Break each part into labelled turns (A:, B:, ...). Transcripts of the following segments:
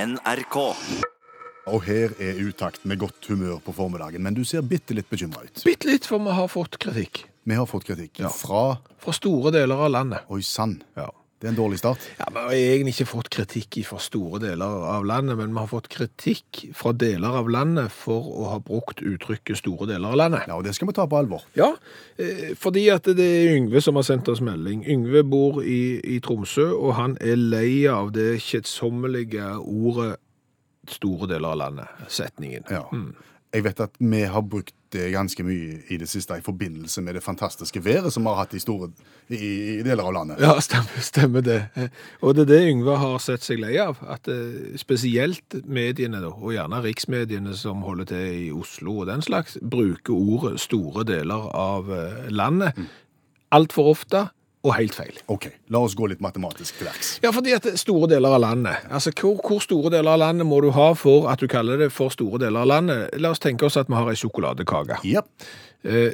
A: NRK.
B: Og her er utakt med godt humør på formiddagen, men du ser bitte litt bekymra ut.
C: Bitte litt, for vi har fått kritikk
B: Vi har fått kritikk fra
C: fra store deler av landet.
B: Oi sann.
C: Ja.
B: Det er en dårlig start.
C: Ja, Vi har egentlig ikke fått kritikk fra store deler av landet, men vi har fått kritikk fra deler av landet for å ha brukt uttrykket 'store deler av landet'.
B: Ja, og det skal vi ta på alvor.
C: Ja, eh, fordi at det er Yngve som har sendt oss melding. Yngve bor i, i Tromsø, og han er lei av det kjedsommelige ordet 'store deler av landet', setningen.
B: Ja. Mm. Jeg vet at vi har brukt det ganske mye i det siste i forbindelse med det fantastiske været som vi har hatt i store i, i deler av landet.
C: Ja, stemmer, stemmer det. Og det er det Yngve har sett seg lei av. At eh, spesielt mediene, da, og gjerne riksmediene som holder til i Oslo og den slags, bruker ordet store deler av eh, landet
B: Mm.
C: altfor ofte og helt feil.
B: OK, la oss gå litt matematisk til verks.
C: Ja, fordi at store deler av landet Altså, hvor, hvor store deler av landet må du ha for at du kaller det for store deler av landet? La oss tenke oss at vi har ei sjokoladekake.
B: Ja.
C: Eh,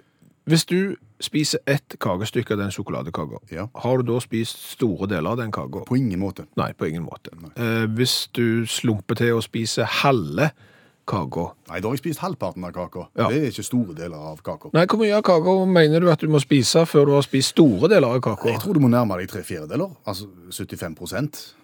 C: hvis du spiser ett kakestykke av den sjokoladekaka,
B: Ja.
C: har du da spist store deler av den kaka?
B: På ingen måte.
C: Nei, på ingen måte. Eh, hvis du slumper til å spise halve kaka
B: Nei, da har jeg spist halvparten av kaka.
C: Ja.
B: Det er ikke store deler av kaka.
C: Nei, hvor mye av kaka mener du at du må spise før du har spist store deler av kaka?
B: Jeg tror du må nærme deg tre fjerdedeler, altså 75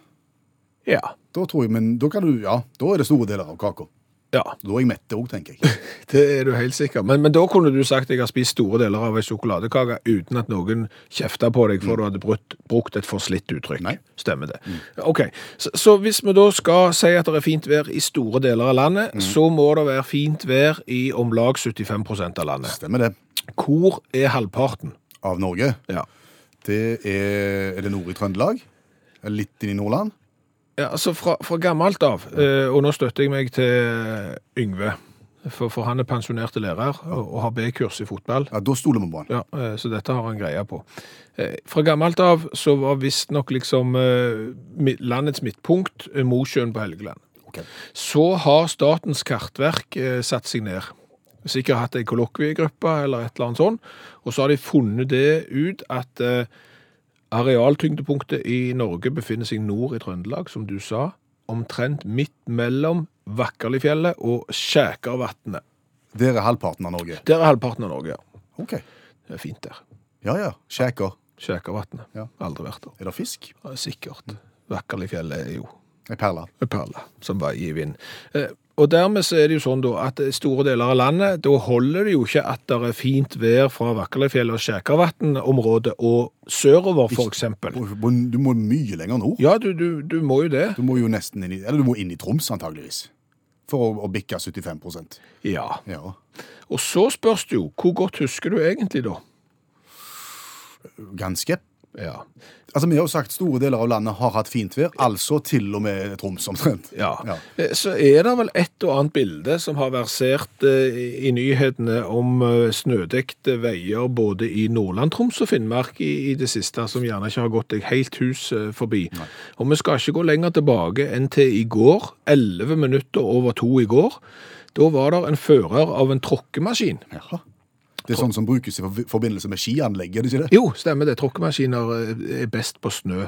C: Ja.
B: Da tror jeg, men da kan du, ja, da er det store deler av kaka.
C: ja,
B: Da er jeg mett òg, tenker jeg.
C: det er du helt sikker. Men, men da kunne du sagt at jeg har spist store deler av en sjokoladekake uten at noen kjefta på deg for du hadde brukt, brukt et forslitt uttrykk.
B: Mm. Nei. Mm.
C: Stemmer det. Ok, så, så hvis vi da skal si at det er fint vær i store deler av landet,
B: Mm.
C: så må det være fint vær i om lag 75 av landet.
B: Stemmer det.
C: Hvor er halvparten?
B: Av Norge.
C: Ja.
B: Det er, er det nord i Trøndelag? Litt inn i Nordland?
C: Ja, altså fra, fra gammelt av, eh, og nå støtter jeg meg til Yngve, for, for han er pensjonerte lærer og, og har B-kurs i fotball.
B: Ja, Da stoler vi på han.
C: Ja, eh, så dette har han greia på. Eh, Fra gammelt av så var visstnok liksom eh, mi- landets midtpunkt eh, Mosjøen på Helgeland.
B: Ok.
C: Så har Statens kartverk eh, satt seg ned. Sikkert hatt ei kollokviegruppe eller et eller annet sånt. Og så har de funnet det ut at eh, arealtyngdepunktet i Norge befinner seg nord i Trøndelag, som du sa. Omtrent midt mellom Vakkerlifjellet og Skjækervatnet.
B: Der er halvparten av Norge.
C: Der er halvparten av Norge, ja.
B: Ok.
C: Det er fint der.
B: Ja ja. Skjæker.
C: Skjækervatnet.
B: Ja.
C: Aldri vært der.
B: Er det fisk?
C: Ja, Sikkert. Vakkerlifjellet er jo
B: Ei perle.
C: en perle som veier i vind. Eh, Og dermed så er det jo sånn da at i store deler av landet, da holder det jo ikke at det er fint vær fra Vakkerlifjellet og Skjækervatn-området og sørover, for eksempel.
B: Du må- Du må mye lenger nord.
C: Ja, du, du, du må jo det.
B: Du må jo nesten inn i Eller du må inn i Troms, antageligvis. For å, å bikke 75
C: Ja.
B: Ja.
C: Og så spørs det jo, hvor godt husker du egentlig da?
B: Ganske.
C: Ja.
B: Altså, Vi har jo sagt store deler av landet har hatt fint vær, altså til og med Troms, omtrent.
C: Ja.
B: Ja.
C: Eh, Så er det vel et og annet bilde som har versert eh, i nyhetene om eh, snødekte veier både i Nordland, Troms og Finnmark i, i det siste, som gjerne ikke har gått deg helt hus eh, forbi. Og vi skal ikke gå lenger tilbake enn til i går, 11 minutter over to i går. Da var det en fører av en tråkkemaskin.
B: Jaha. Det er sånn som brukes i forbi- forbindelse med skianlegg, er det ikke det?
C: Jo, stemmer det. Tråkkemaskiner eh, er best på snø.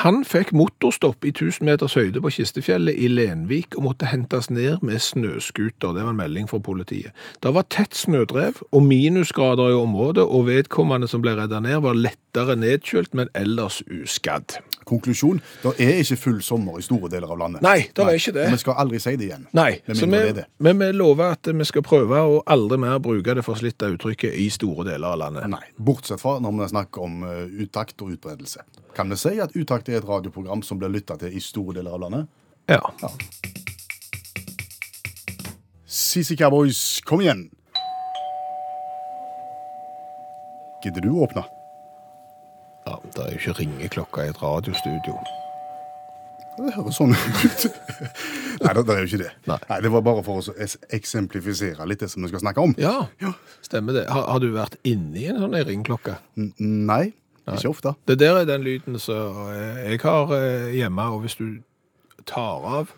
C: Han fikk motorstopp i 1000 meters høyde på Kistefjellet i Lenvik og måtte hentes ned med snøskuter. Det var en melding fra politiet. Det var tett snødrev og minusgrader i området, og vedkommende som ble redda ned, var lettere nedkjølt, men ellers uskadd.
B: Konklusjon, det er ikke full sommer i store deler av landet.
C: Nei, det er ikke det.
B: Og Vi skal aldri si det igjen.
C: Nei,
B: Med
C: så
B: mindre
C: vi,
B: det er det.
C: men vi lover at vi skal prøve å aldri mer bruke det forslitte uttrykket i store deler av landet.
B: Nei, Bortsett fra når vi snakker om eh, utakt og utbredelse. Kan vi si at utakt er et radioprogram som blir lytta til i store deler av landet?
C: Ja.
B: CC Cowboys, kom igjen! Gidder du å åpne?
C: ja, det er jo ikke ringeklokka i et radiostudio.
B: Det høres sånn ut. Nei, det, det er jo ikke det.
C: Nei.
B: Det var bare for å es- eksemplifisere litt det som vi skal snakke om.
C: Ja, stemmer det. Har, har du vært inni en sånn ringklokke?
B: N nei, ikke ofte.
C: Det der er den lyden som eh, jeg har eh, hjemme, og hvis du tar av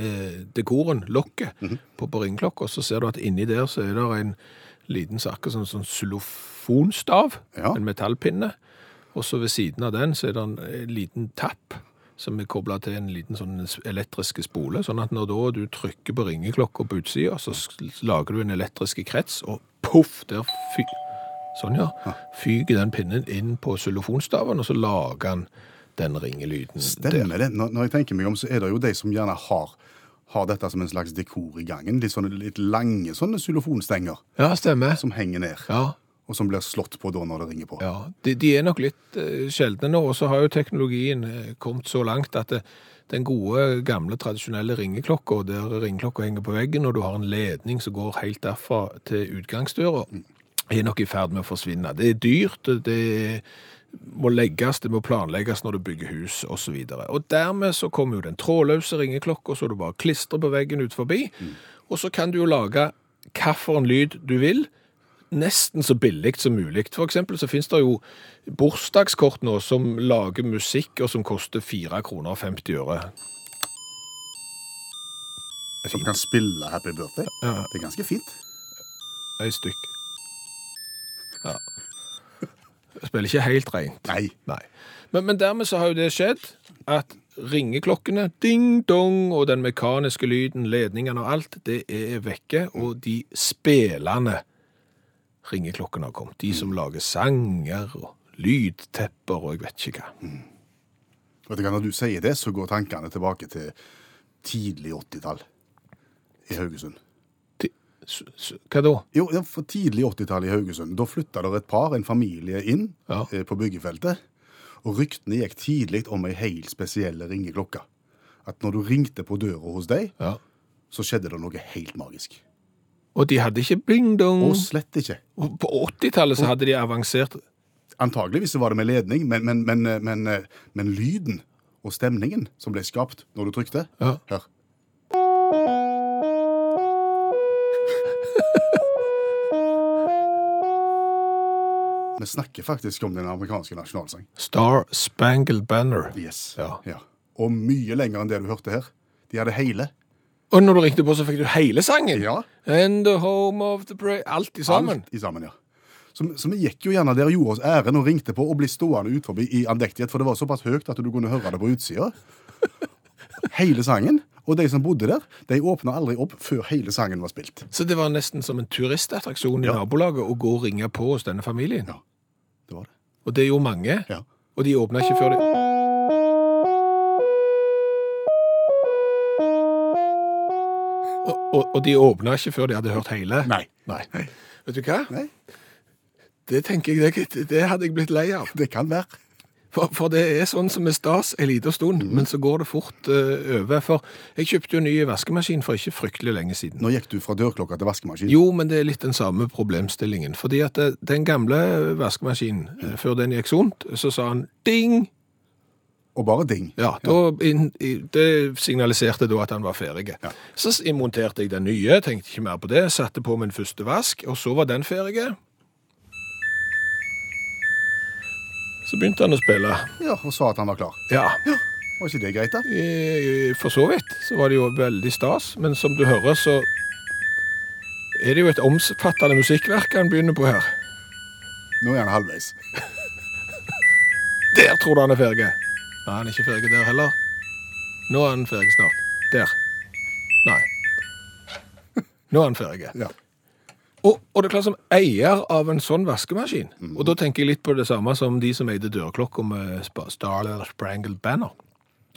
C: eh, dekoren, lokket, på, på ringklokka, så ser du at inni der så er det en liten sakke, sånn, sånn xylofonstav,
B: Ja.
C: en metallpinne, og så ved siden av den så er det en eh, liten tapp som er kobla til en liten sånn elektrisk spole. Sånn at når da du trykker på ringeklokka på utsida, så s- lager du en elektrisk krets, og poff, der fy... Sånn, ja. Fyker den pinnen inn på xylofonstaven, og så lager han den ringelyden. der.
B: Stemmer det. Når, når jeg tenker meg om, så er det jo de som gjerne har, har dette som en slags dekor i gangen. Litt, sånne, litt lange sånne xylofonstenger
C: Ja, stemmer.
B: som henger ned,
C: Ja,
B: og som blir slått på da når det ringer på.
C: Ja, de, de er nok litt eh, sjeldne nå, og så har jo teknologien eh, kommet så langt at eh, den gode, gamle, tradisjonelle ringeklokka, der ringeklokka henger på veggen, og du har en ledning som går helt derfra til utgangsdøra, er nok i ferd med å forsvinne. Det er dyrt, det må legges, det må planlegges når du bygger hus, og så videre. Og dermed så kommer jo den trådløse ringeklokka, så du bare klistrer på veggen ut forbi, og så kan du jo lage hvilken lyd du vil, nesten så billig som mulig. For eksempel så finnes det jo bursdagskort nå som lager musikk, og som koster 4 kroner og 50 øre.
B: Som kan spille Happy Birthday.
C: Ja.
B: Det er ganske fint.
C: Ei stykk. Ja. Jeg spiller ikke helt rent.
B: Nei.
C: Nei. Men, men dermed så har jo det skjedd at ringeklokkene, ding-dong, og den mekaniske lyden, ledningene og alt, det er vekke, og de spillende ringeklokkene har kommet. De som lager sanger og lydtepper og jeg vet ikke hva.
B: Vet du hva, Når du sier det, så går tankene tilbake til tidlig 80-tall i Haugesund.
C: Ti- s- s- Hva da?
B: Jo, ja, for tidlig 80-tall i Haugesund. Da flytta der et par, en familie, inn
C: Ja.
B: eh, på byggefeltet. Og ryktene gikk tidlig om ei helt spesiell ringeklokke. At når du ringte på døra hos deg,
C: Ja.
B: så skjedde det noe helt magisk.
C: Og de hadde ikke bling-dong.
B: Og slett ikke.
C: Og På 80-tallet så hadde de avansert
B: Antageligvis så var det med ledning, men, men, men, eh, men, eh, men lyden og stemningen som ble skapt når du trykte
C: Ja.
B: Hør. Vi snakker faktisk om den amerikanske nasjonalsang.
C: Star Spangled Banner.
B: Yes.
C: Ja.
B: Og mye lenger enn det du hørte her. De hadde hele.
C: Og når du ringte på, så fikk du hele sangen.
B: Ja.
C: And the home of the prey. Alt i sammen.
B: Alt i sammen, ja. Så, så vi gikk jo gjerne der og gjorde oss æren og ringte på og ble stående ut forbi i andektighet, for det var såpass høyt at du kunne høre det på utsida. Hele sangen. Og de som bodde der, de åpna aldri opp før hele sangen var spilt.
C: Så det var nesten som en turistattraksjon i nabolaget å gå og ringe på hos denne familien.
B: Ja. Det var det.
C: Og det gjorde mange.
B: Ja.
C: Og de åpna ikke før de Og, og, og de åpna ikke før de hadde hørt hele.
B: Nei.
C: Nei. Vet du hva?
B: Nei.
C: Det tenker jeg, det, det hadde jeg blitt lei av.
B: Det kan være.
C: For, for det er sånn som er stas en liten stund, men så går det fort eh, over. For jeg kjøpte jo en ny vaskemaskin for ikke fryktelig lenge siden.
B: Nå gikk du fra dørklokka til vaskemaskinen.
C: Jo, men det er litt den samme problemstillingen. Fordi at eh, den gamle vaskemaskinen, eh, før den gikk sunt, så sa han ding!
B: Og bare ding.
C: Ja, da inn- i- det signaliserte da at han var ferdig.
B: Ja.
C: Så s- monterte jeg den nye, tenkte ikke mer på det, satte på min første vask, og så var den ferdig. Så begynte han å spille.
B: Ja, Og sa at han var klar.
C: Ja,
B: Var ikke det greit, da?
C: i- i- for så vidt så var det jo veldig stas, men som du hører så er det jo et omfattende musikkverk han begynner på her.
B: Nå er han halvveis.
C: Der tror du han er ferdig. Nei, han er ikke ferdig der heller. Nå er han ferdig snart. Der. Nei. Nå er han ferdig.
B: Ja.
C: Og, og det er klart som eier av en sånn vaskemaskin, og da tenker jeg litt på det samme som de som eide dørklokka med spa- Star eller Sprangled Banner,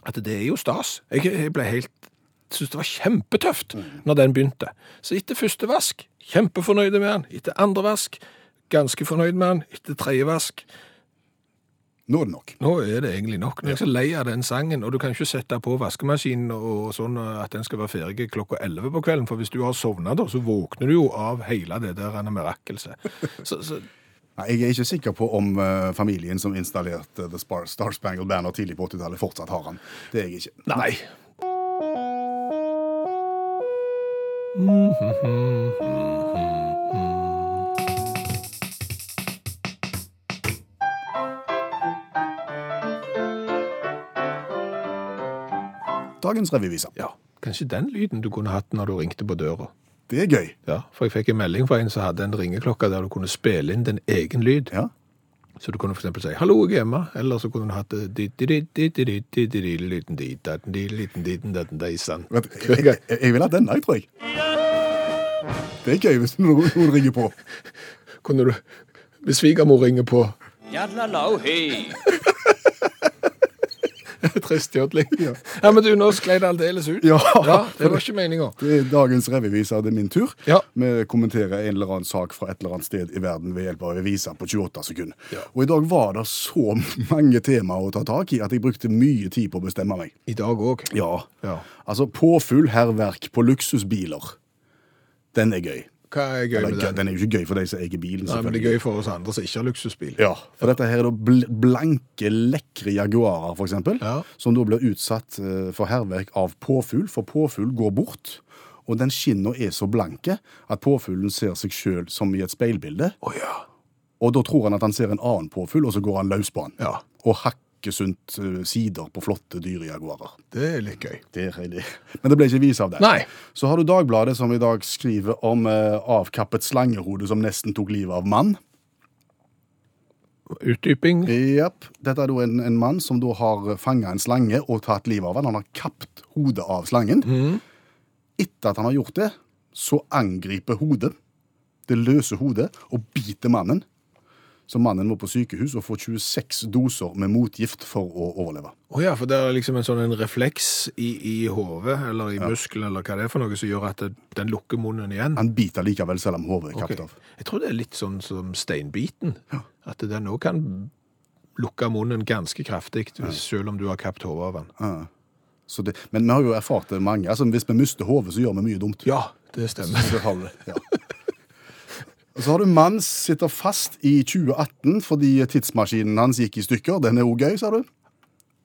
C: at det er jo stas. Jeg, jeg ble helt, syntes det var kjempetøft når den begynte. Så etter første vask, kjempefornøyde med den. Etter andre vask, ganske fornøyd med den. Etter tredje vask,
B: Nå er det nok.
C: nå er det egentlig nok. Nå er jeg så lei av den sangen, og du kan ikke sette på vaskemaskinen og sånn at den skal være ferdig klokka 11 på kvelden, for hvis du har sovnet da, så våkner du jo av hele det der mirakelset. Så, så
B: Nei, Jeg er ikke sikker på om eh, familien som installerte The Spar- Star Spangled Banner tidlig på 80-tallet, fortsatt har han. Det er jeg ikke.
C: nei.
B: Dagens revyvise.
C: Ja, kanskje den lyden du kunne hatt når du ringte på døra.
B: Det er gøy.
C: Ja, for jeg fikk en melding fra en som hadde en ringeklokke der du kunne spille inn din egen lyd.
B: Ja.
C: Så du kunne for eksempel si 'hallo, jeg er hjemme', eller så kunne du hatt eh, di- di- di- di- di- di- di- di- di- liten di- datten di- liten ditten datten deisen.
B: Vet, du, jeg, jeg, jeg vil ha denne, jeg tror jeg. Det er gøy hvis noen, noen ringer på.
C: Kunne du Hvis svigermor ringer på
A: Yadlalau hei.
C: Trist jodling. Ja. men du, nå sklei det aldeles ut.
B: Ja.
C: det var ikke meninga.
B: Det er dagens revyviser, det er min tur.
C: Ja.
B: Vi kommenterer en eller annen sak fra et eller annet sted i verden ved hjelp av reviser på 28 sekunder.
C: Ja.
B: Og i dag var det så mange temaer å ta tak i at jeg brukte mye tid på å bestemme meg.
C: I dag òg.
B: Ja.
C: Ja.
B: Altså, påfugl herverk på luksusbiler. Den er gøy.
C: Hva er gøy
B: Eller,
C: med den?
B: den er jo ikke gøy for de som eier bilen.
C: Nei, men det
B: selvfølgelig.
C: er gøy for oss andre som ikke har luksusbil.
B: Ja, for dette her er da bl blanke, lekre jaguarer, for eksempel,
C: Ja.
B: som da blir utsatt eh, for herverk av påfugl, for påfugl går bort, og den skinna er så blanke at påfuglen ser seg sjøl som i et speilbilde,
C: Å ja.
B: og da tror han at han ser en annen påfugl, og så går han løs på han.
C: Ja,
B: Og hakker sunt eh, sider på flotte dyrejaguarer.
C: det er litt gøy.
B: Det er det. Men det ble ikke vise av det.
C: Nei.
B: Så har du Dagbladet, som i dag skriver om eh, avkappet slangerode som nesten tok livet av mann.
C: Utdyping.
B: Japp. Dette er da en, en mann som da har fanga en slange og tatt livet av den. Han har kapt hodet av slangen. Etter at han har gjort det, så angriper hodet, det løse hodet, og biter mannen. Så mannen må på sykehus og få 26 doser med motgift for å overleve.
C: Å ja, for det er liksom en sånn en refleks i, i hodet, eller i muskelen, eller hva det er for noe, som gjør at det, den lukker munnen igjen.
B: Han biter likevel, selv om hodet er
C: Ok.
B: kapt av.
C: Jeg tror det er litt sånn som steinbiten. At den òg kan lukke munnen ganske kraftig, selv om du har kapt hodet av den.
B: Så det, men vi har jo erfart det mange. Altså, hvis vi mister hodet, så gjør vi mye dumt.
C: Ja, det stemmer.
B: Så har du det, ja. Og så har du mann sitter fast i 2018 fordi tidsmaskinen hans gikk i stykker. Den er òg gøy, sa du.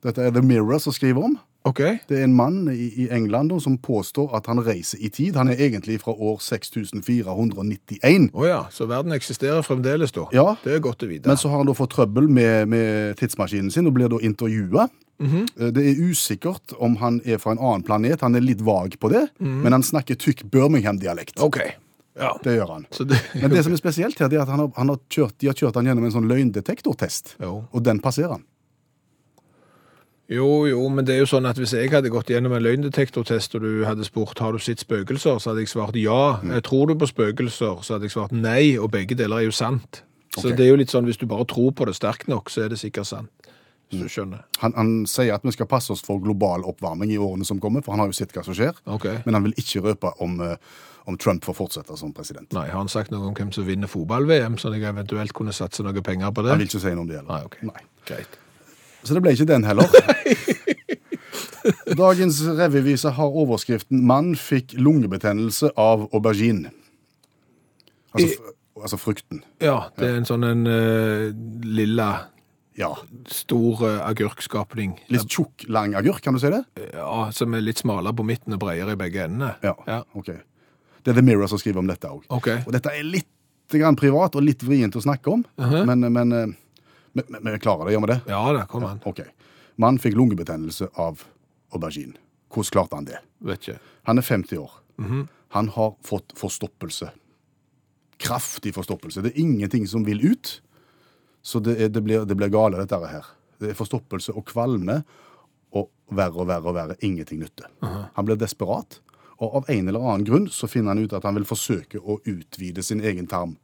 B: Dette er The Mirror som skriver om.
C: OK.
B: Det er en mann i, i England da, som påstår at han reiser i tid. Han er egentlig fra år 6491.
C: Å ja, så verden eksisterer fremdeles, da.
B: Ja.
C: Det er godt å vite.
B: Men så har han da fått trøbbel med, med tidsmaskinen sin og blir da intervjua. Det er usikkert om han er fra en annen planet. Han er litt vag på det, men han snakker tykk Birmingham-dialekt.
C: OK. Ja.
B: Det gjør han.
C: Så det,
B: Men det som er spesielt her, det er at han har, han har kjørt, de har kjørt han gjennom en sånn løgndetektortest,
C: Jo.
B: og den passerer han.
C: Jo, jo, men det er jo sånn at hvis jeg hadde gått gjennom en løgndetektortest og du hadde spurt har du sett spøkelser, så hadde jeg svart ja.
B: Mm.
C: Eh, Tror du på spøkelser, så hadde jeg svart nei, og begge deler er jo sant. Så
B: Ok.
C: det er jo litt sånn hvis du bare tror på det sterkt nok, så er det sikkert sant.
B: Mm.
C: Hvis du skjønner.
B: han. Han sier at vi skal passe oss for global oppvarming i årene som kommer, for han har jo sett hva som skjer,
C: Ok.
B: men han vil ikke røpe om, eh, om Trump får fortsette som president.
C: Nei, har han sagt noe om hvem som vinner fotball-VM, sånn at jeg eventuelt kunne satse noe penger på det?
B: Han vil ikke si noe om det heller.
C: Nei, ok.
B: Nei.
C: Greit.
B: Så det ble ikke den heller. Dagens revyvise har overskriften 'Mann fikk lungebetennelse av aubergine'. Altså, fr- altså frukten.
C: Ja, det er en sånn en eh, lilla,
B: Ja.
C: stor eh, agurkskapning.
B: Litt tjukk, lang agurk, kan du si det?
C: Ja, som er litt smalere på midten og bredere i begge endene.
B: Ja, ok. Det er The Mirror som skriver om dette òg.
C: Ok.
B: Og dette er litt eh, grann privat og litt vrient å snakke om, men, men, eh, men, men vi klarer det, gjør vi det?
C: Ja, da, kom an.
B: Ok. Mann fikk lungebetennelse av aubergine. Hvordan klarte han det?
C: Vet ikke.
B: Han er 50 år.
C: Mhm.
B: Han har fått forstoppelse. Kraftig forstoppelse. Det er ingenting som vil ut, så det, er, det, blir, det blir gale, dette her. Det er forstoppelse og kvalme, og verre og verre og verre. Ingenting nytte.
C: Mhm.
B: Han blir desperat, og av en eller annen grunn så finner han ut at han vil forsøke å utvide sin egen tarm.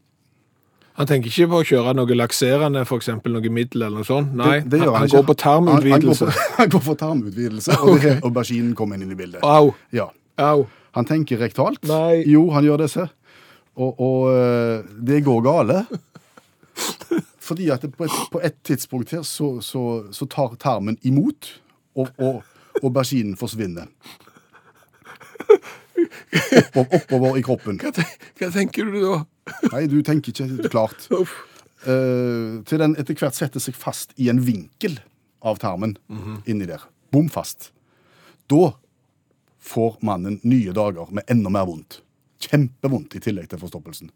C: Han tenker ikke på å kjøre noe lakserende, f.eks. noe middel eller noe sånt. Nei,
B: Det- det gjør
C: han, han
B: ikke.
C: går på tarmutvidelse.
B: Han, han, går for- han går for tarmutvidelse, og det er auberginen kom inn i bildet.
C: Au,
B: Ja.
C: au.
B: Han tenker rektalt.
C: Nei.
B: Jo, han gjør det, se. Og, og eh, det går gale. Fordi at det på et, på et tidspunkt her så, så, så tar tarmen imot, og, og, og auberginen forsvinner. Oppov- oppover i kroppen.
C: Hva, ten- hva tenker du da?
B: Nei, du tenker ikke klart.
C: Uff.
B: Eh, til den etter hvert setter seg fast i en vinkel av tarmen inni der. Bom fast. Da får mannen nye dager med enda mer vondt. Kjempevondt i tillegg til forstoppelsen.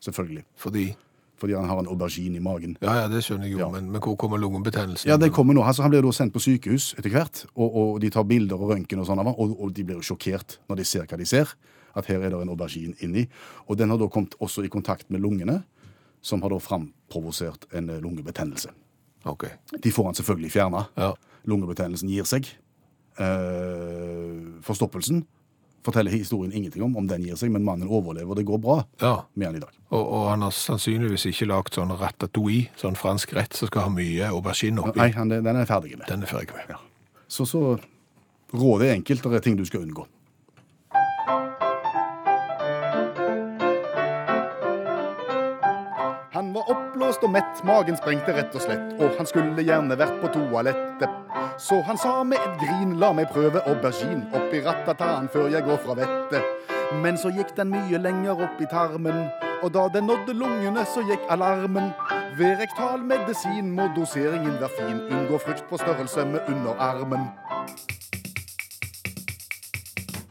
B: Selvfølgelig.
C: Fordi
B: Fordi han har en aubergine i magen.
C: Ja, ja, det skjønner jeg jo,
B: Ja.
C: men, men hvor kommer lungebetennelsen?
B: Ja, det kommer nå. Altså, han blir da sendt på sykehus etter hvert, og, og de tar bilder og røntgen og sånn av han, og, og de blir jo sjokkert når de ser hva de ser. At her er det en aubergine inni. Og den har da kommet også i kontakt med lungene. som har da framprovosert en eh, lungebetennelse.
C: OK.
B: De får han selvfølgelig fjerna.
C: Ja.
B: Lungebetennelsen gir seg. Eh, forstoppelsen forteller historien ingenting om, om den gir seg, men mannen overlever, og det går bra
C: ja.
B: med han i dag.
C: Og, og han har sannsynligvis ikke lagd sånn ratatouille, sånn fransk rett som skal ha mye aubergine oppi.
B: Nei, han, den er jeg ferdig med.
C: Den er ferdig med.
B: Så, så rådet er enkelt, det er ting du skal unngå.
D: Han var oppblåst og mett, magen sprengte rett og slett, og han skulle gjerne vært på toalettet. Så han sa med et grin, la meg prøve aubergine oppi rattataran før jeg går fra vettet. Men så gikk den mye lenger opp i tarmen, og da den nådde lungene, så gikk alarmen. Ved rektal medisin må doseringen være fin, unngå frykt på størrelse med underarmen.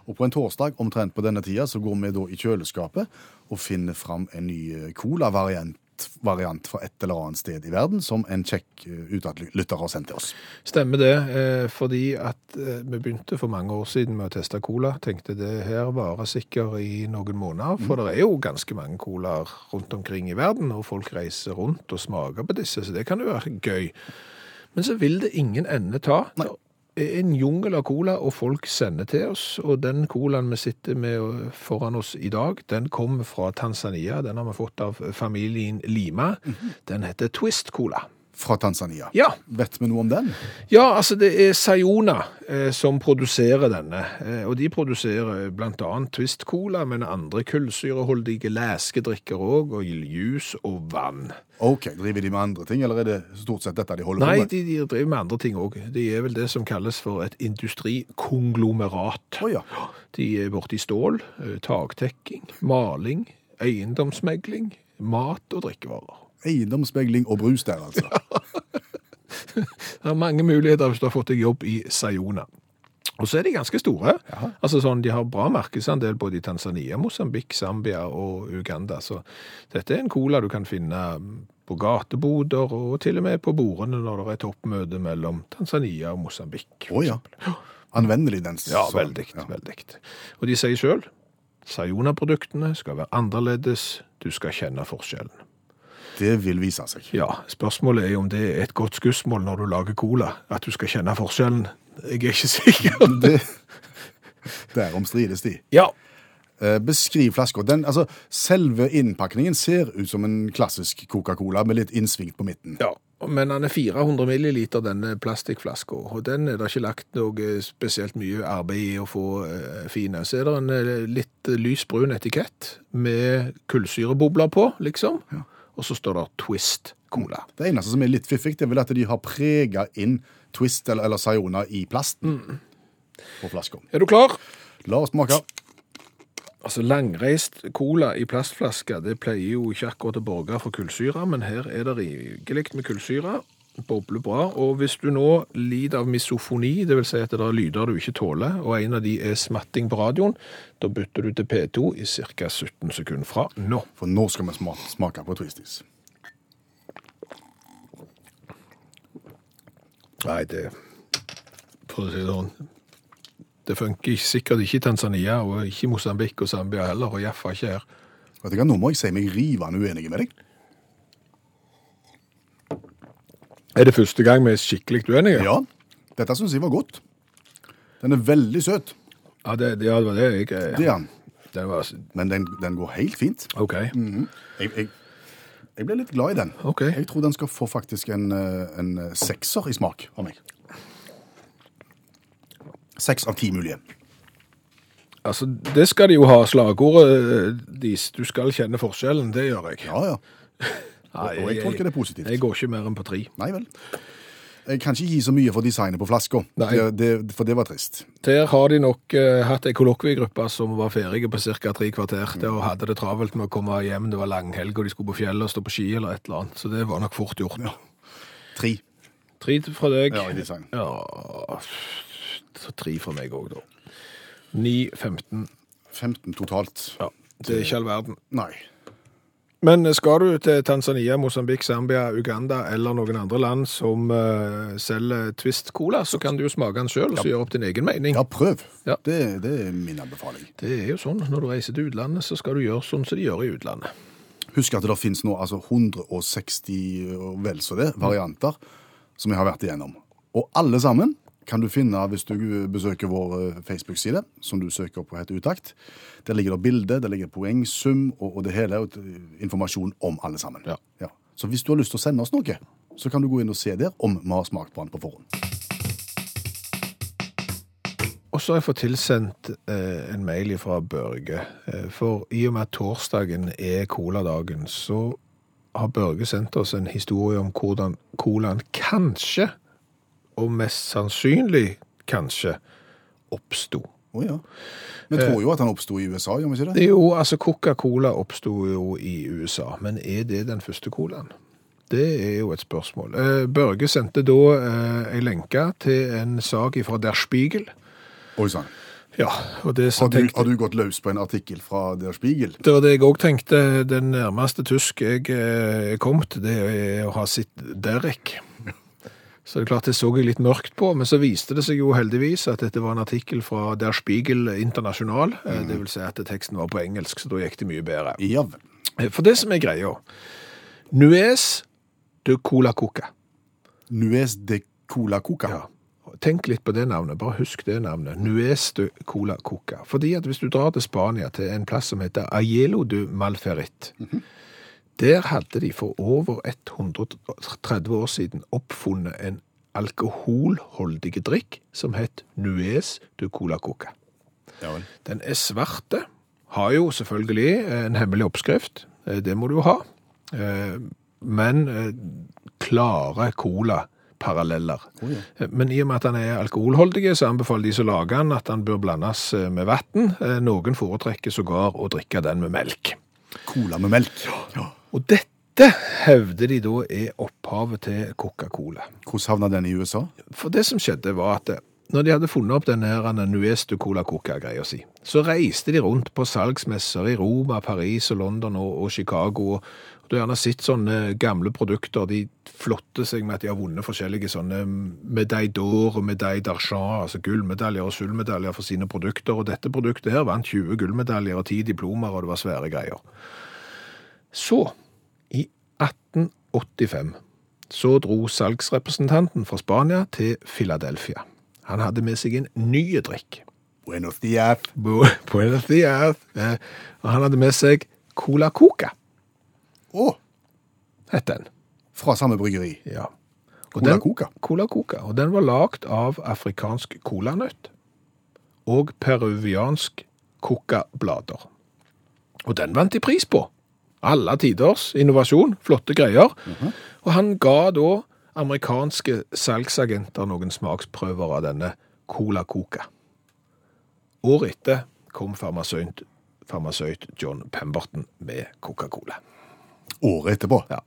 B: Og på en torsdag omtrent på denne tida så går vi da i kjøleskapet og finner fram en ny eh, cola-variant variant fra et eller annet sted i verden som en kjekk eh, utadlytter har sendt til oss.
C: Stemmer det, eh, fordi at eh, vi begynte for mange år siden med å teste cola. Tenkte det her varer sikkert i noen måneder, for det er jo ganske mange colaer rundt omkring i verden, og folk reiser rundt og smaker på disse, så det kan jo være gøy. Men så vil det ingen ende ta. Det er en jungel av cola, og folk sender til oss. Og den colaen vi sitter med foran oss i dag, den kommer fra Tanzania. Den har vi fått av familien Lima. Den heter Twist Cola.
B: Fra Tanzania.
C: Ja,
B: Vet vi noe om den?
C: ja, altså det er Sayona eh, som produserer denne, eh, og de produserer eh, blant annet Twist Cola, men andre kullsyreholdige læskedrikker også, og juice og vann.
B: Ok, Driver de med andre ting, eller er det stort sett dette de holder
C: Nei,
B: på med?
C: de, de driver med andre ting også. De er vel det som kalles for et industrikonglomerat.
B: Å ja.
C: De er borti stål, eh, taktekking, maling, eiendomsmegling, mat og drikkevarer.
B: Eiendomsmegling og brus der, altså.
C: Det er mange muligheter hvis du har fått deg jobb i Sayona. Og så er de ganske store. Altså sånn, De har bra markedsandel både i Tanzania, Mosambik, Zambia og Uganda. Så dette er en cola du kan finne på gateboder og til og med på bordene når det er toppmøte mellom Tanzania og Mosambik.
B: Å ja. Anvendelig, den.
C: Ja,
B: sånn.
C: veldig.
B: Ja.
C: veldig. Og de sier sjøl Sayona-produktene skal være annerledes, du skal kjenne forskjellen.
B: Det vil vise seg.
C: Ja, spørsmålet er jo om det er et godt skussmål når du lager cola, at du skal kjenne forskjellen. Jeg er ikke sikker.
B: Det, derom strides de.
C: Ja,
B: Eh, Beskriv flaska. Den, altså, selve innpakningen ser ut som en klassisk Coca-Cola med litt innsvingt på midten.
C: ja. Men den er 400 milliliter, denne plastikkflaska, og den er det ikke lagt noe spesielt mye arbeid i å få eh, fine. Så er det en eh, litt lys brun etikett med kullsyrebobler på, liksom. Og så står det Twist Cola.
B: Det eneste som er litt fiffig, det er vel at de har prega inn Twist eller, eller Sayona i plasten på flaska.
C: Er du klar?
B: La oss smake.
C: Altså, Langreist cola i plastflaske det pleier jo ikke akkurat å borge for kullsyre, men her er det rikelig med kullsyre. Bobler bra. Og hvis du nå lider av misofoni, dvs. Si at det er lyder du ikke tåler, og en av de er smatting på radioen, da bytter du til P2 i ca. 17 sekunder fra nå.
B: For nå skal vi sma- smake på Twisties.
C: Nei, det For å si det sånn Det funker ikke- sikkert ikke i Tanzania, og ikke i Mosambik og Zambia heller, og iallfall ikke her.
B: Vet du hva, Nå må jeg si meg rivende uenig med deg.
C: Er det første gang vi er skikkelig uenige?
B: Ja, Dette syns jeg var godt. Den er veldig søt,
C: Ja, det, ja, det var det jeg
B: det er den.
C: Det var
B: Men den, den går helt fint.
C: OK.
B: Mhm. Jeg, jeg, jeg ble litt glad i den.
C: Ok.
B: Jeg tror den skal få faktisk en, eh, en eh, sekser i smak av meg. Seks av ti mulige.
C: Altså, det skal de jo ha, slagordet deres. Du skal kjenne forskjellen, det gjør jeg.
B: Ja, ja.
C: Nei,
B: og jeg tolker det positivt.
C: Jeg går ikke mer enn på tre.
B: Nei vel. Jeg kan ikke gi så mye for designet på flaska,
C: Nei.
B: Det- det- for det var trist.
C: Der har de nok eh, hatt ei kollokviegruppe som var ferdige på ca. tre kvarter. Det, og hadde det travelt med å komme hjem, det var langhelg, og de skulle på fjellet og stå på ski eller et eller annet. Så det var nok fort gjort.
B: Tre.
C: Tre fra deg.
B: Ja, i design.
C: Ja, så tre fra meg òg, da. 9-15.
B: 15 totalt.
C: Ja, det er ikke all verden.
B: Nei.
C: Men skal du til Tanzania, Mosambik, Zambia, Uganda eller noen andre land som eh, selger Twist Cola, så kan du jo smake den sjøl og så gjøre opp din egen mening.
B: Ja, prøv.
C: Ja.
B: Det, det er min anbefaling.
C: Det er jo sånn når du reiser til utlandet, så skal du gjøre sånn som de gjør i utlandet.
B: Husk at det finnes nå altså 160 og vel så det varianter som vi har vært igjennom. Og alle sammen kan du finne hvis du besøker vår eh, Facebook-side, som du søker opp og heter Utakt. Der ligger det bilde, der ligger poengsum og, og det hele, og eh, informasjon om alle sammen.
C: Ja.
B: Så hvis du har lyst til å sende oss noe, så kan du gå inn og se der om vi har smakt på den på forhånd.
C: Og så har jeg fått tilsendt eh, en mail fra Børge. Eh, for i og med at torsdagen er coladagen, så har Børge sendt oss en historie om hvordan colaen kanskje, og mest sannsynlig kanskje, oppsto.
B: Å ja. Eh. Vi tror jo at den oppsto i USA, gjør vi ikke det?
C: Jo, altså Coca-Cola oppsto jo i USA, men er det den første colaen? Det er jo et spørsmål. Eh, Børge sendte da eh, ei lenke til en sak fra Der Spiegel.
B: Oi sann.
C: Ja, og det
B: Har,
C: som
B: du-
C: tenkte-
B: har du gått løs på en artikkel fra Der Spiegel?
C: Det var det jeg òg tenkte. Den nærmeste tysk jeg eh, er kommet, det er å ha sett Derek. Så det er klart det så jeg litt mørkt på, men så viste det seg jo heldigvis at dette var en artikkel fra Der Spiegel Internasjonal. eh,
B: Mm.
C: Det vil si at teksten var på engelsk, så da gikk det mye bedre.
B: Ja vel.
C: Eh, For det som er greia Nuez de Cola Coca.
B: Nuez de Cola Coca.
C: Ja. Tenk litt på det navnet, bare husk det navnet. Nuez de Cola Coca. Fordi at hvis du drar til Spania, til en plass som heter Ayelo de Malferit, der hadde de for over 130 år siden oppfunnet en alkoholholdig drikk som het Nuez de Cola Coca.
B: Ja vel.
C: Den er svarte, har jo selvfølgelig eh, en hemmelig oppskrift, Eh, det må du jo ha, Eh, men eh, klare cola-paralleller.
B: Å ja.
C: Eh, Men i og med at han er alkoholholdig, så anbefaler de som lager han at han bør blandes eh, med vann. Noen foretrekker sågar å drikke den med melk.
B: Cola med melk.
C: Og dette hevder de da er opphavet til Coca-Cola.
B: Hvordan havna den i USA?
C: For det som skjedde var at eh, når de hadde funnet opp denne her eh, Nuez de Cola Coca-greia si, så reiste de rundt på salgsmesser i Roma, Paris og London og, og Chicago. og Du har gjerne sett sånne eh, gamle produkter. De flotter seg med at de har vunnet forskjellige sånne medaille d'or og medaille d'argent, altså gullmedaljer og sølvmedaljer for sine produkter. Og dette produktet her vant 20 gullmedaljer og 10 diplomer, og det var svære greier. Så, i 1885, så dro salgsrepresentanten fra Spania til Philadelphia. Han hadde med seg en ny drikk.
B: Buenos dias.
C: Bu- Buenos dias. Eh, Og han hadde med seg Cola Coca,
B: Å,
C: het den.
B: fra samme bryggeri.
C: Ja. Og
B: Cola
C: den-
B: Coca.
C: Cola Coca. Og den var lagd av afrikansk colanøtt og peruviansk coca-blader. Og den vant de pris på. Alle tiders innovasjon, flotte greier. Og han ga da amerikanske salgsagenter noen smaksprøver av denne Cola Coca. Året etter kom farmasøyt, farmasøyt John Pemberton med Coca-Cola.
B: Året etterpå.
C: Ja.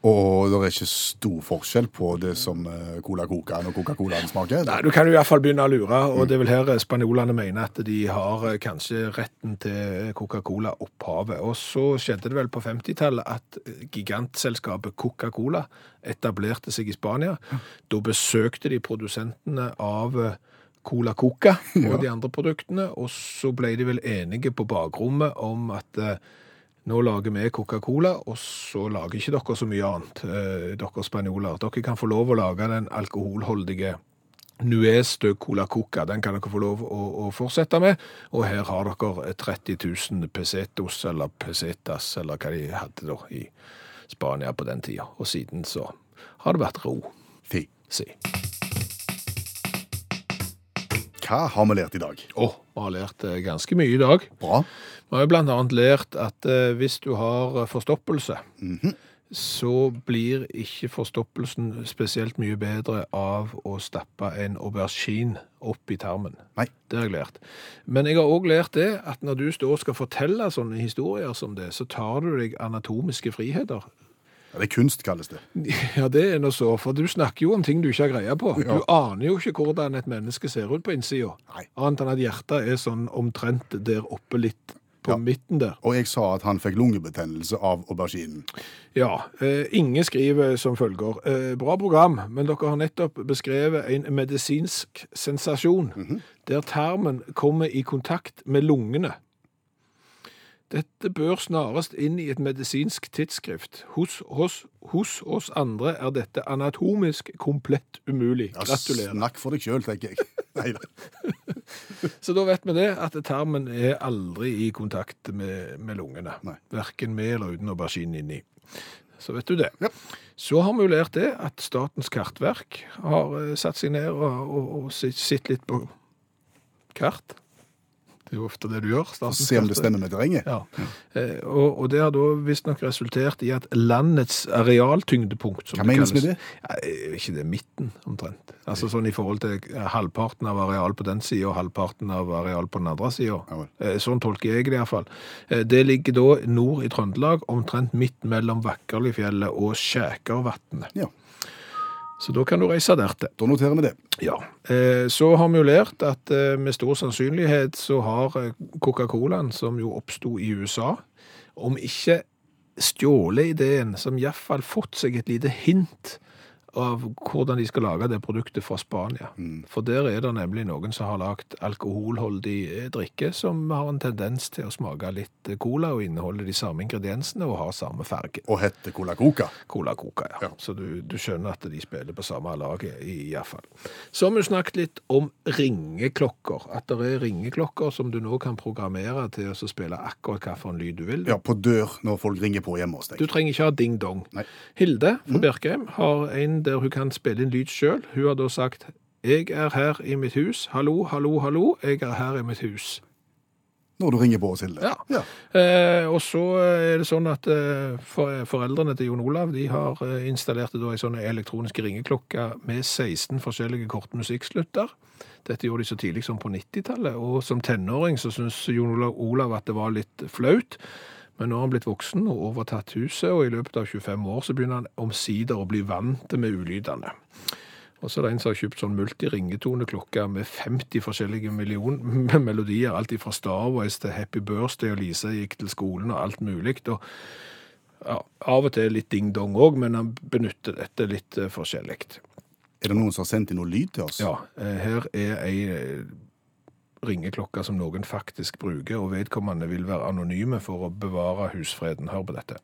B: Og det er ikke stor forskjell på det som eh, Cola Coca og Coca-Cola smaker?
C: Nei, Du kan jo i hvert fall begynne å lure, og det er vel her spanjolene mener at de har eh, kanskje retten til eh, Coca-Cola-opphavet. Og så skjedde det vel på 50-tallet at eh, gigantselskapet Coca-Cola etablerte seg i Spania. Da besøkte de produsentene av eh, Cola Coca og de andre produktene, og så ble de vel enige på bakrommet om at eh, nå lager vi Coca-Cola, og så lager ikke dere så mye annet, eh, dere spanjoler. Dere kan få lov å lage den alkoholholdige Nuez de Cola Coca. Den kan dere få lov å, å fortsette med. Og her har dere 30 000 pesetos, eller pesetas, eller hva de hadde da i Spania på den tida. Og siden så har det vært ro,
B: Fy.
C: si.
B: Hva har vi lært i dag?
C: Å, vi har lært eh, ganske mye i dag.
B: Bra.
C: Vi har jo blant annet lært at eh, hvis du har eh, forstoppelse,
B: Mhm.
C: så blir ikke forstoppelsen spesielt mye bedre av å stappe en aubergine opp i tarmen.
B: Nei.
C: Det har jeg lært. Men jeg har òg lært det at når du står og skal fortelle sånne historier som det, så tar du deg anatomiske friheter.
B: Ja, det er kunst, kalles det.
C: Ja, det er nå så, for du snakker jo om ting du ikke har greie på. Du aner jo ikke hvordan et menneske ser ut på innsida.
B: Nei.
C: Annet enn at hjertet er sånn omtrent der oppe litt på midten der.
B: Og jeg sa at han fikk lungebetennelse av auberginen.
C: Ja. Eh, Inge skriver som følger. Eh, bra program, men dere har nettopp beskrevet en medisinsk sensasjon der tarmen kommer i kontakt med lungene. Dette bør snarest inn i et medisinsk tidsskrift. Hos, hos, hos oss andre er dette anatomisk komplett umulig.
B: Ja,
C: Gratulerer.
B: Snakk for deg sjøl, tenker jeg. Nei, da.
C: Så da vet vi det, at tarmen er aldri i kontakt med, med lungene.
B: Nei.
C: Verken med eller uten aubergine inni. Så vet du det.
B: Ja.
C: Så har vi jo lært det at Statens kartverk har eh, satt seg ned og, og, og sitt- sett litt på kart. Det er jo ofte det du gjør. Statens
B: Se om det
C: kartverk.
B: stemmer med terrenget.
C: Ja. Eh, Og, og det har da visstnok resultert i at landets arealtyngdepunkt som
B: Hva menes med det?
C: Ja, er ikke det midten, omtrent? Altså sånn i forhold til eh, halvparten av areal på den sida og halvparten av areal på den andre sida.
B: Ja vel.
C: Sånn tolker jeg det iallfall. Eh, Det ligger da nord i Trøndelag, omtrent midt mellom Vakkerlifjellet og Skjækervatnet.
B: Ja,
C: Så da kan du reise der til.
B: Da noterer vi det.
C: Ja. Eh, Så har vi jo lært at eh, med stor sannsynlighet så har eh, Coca-Colaen, som jo oppsto i USA, om ikke stjålet ideen, som iallfall fått seg et lite hint av hvordan de skal lage det produktet fra Spania.
B: Mhm.
C: For der er det nemlig noen som har lagd alkoholholdig eh, drikke som har en tendens til å smake litt eh, cola og inneholde de samme ingrediensene og har samme farge.
B: Og heter Cola Coca.
C: Cola Coca, ja.
B: Ja.
C: Så du, du skjønner at de spiller på samme laget, i hvert fall. Så har vi jo snakket litt om ringeklokker. At det er ringeklokker som du nå kan programmere til å så spille akkurat hvilken lyd du vil.
B: Ja, på dør når folk ringer på hjemme hos deg.
C: Du trenger ikke ha ding-dong.
B: Nei. Mm.
C: Hilde fra Birkheim har en der hun kan spille inn lyd sjøl. Hun har da sagt 'Jeg er her i mitt hus'. Hallo, hallo, hallo. Jeg er her i mitt hus.
B: Når du ringer på oss, Hilde.
C: Ja. Eh, og så er det sånn at eh, for, foreldrene til Jon Olav de har eh, installert da en sånn elektronisk ringeklokke med 16 forskjellige kortmusikkslutter. Dette gjorde de så tidlig som på 90-tallet, og som tenåring så syntes Jon Olav, Olav at det var litt flaut. Men nå har han blitt voksen og overtatt huset, og i løpet av 25 år så begynner han omsider å bli vant til med ulydene. Og så er det en som har kjøpt sånn multiringetoneklokke med 50 forskjellige million melodier, alt fra Star Wars til Happy Birthday og Lisa gikk til skolen og alt mulig. Og ja, av og til litt ding-dong òg, men han benytter dette litt eh, forskjellig.
B: Er det noen som har sendt inn noe lyd til oss?
C: Ja, eh, her er ei eh, ringeklokke som noen faktisk bruker, og vedkommende vil være anonyme for å bevare husfreden. Hør på dette.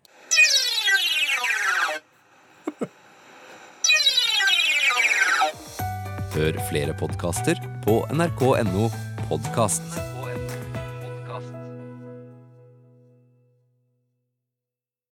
E: Hør flere podkaster på nrk.no podkast.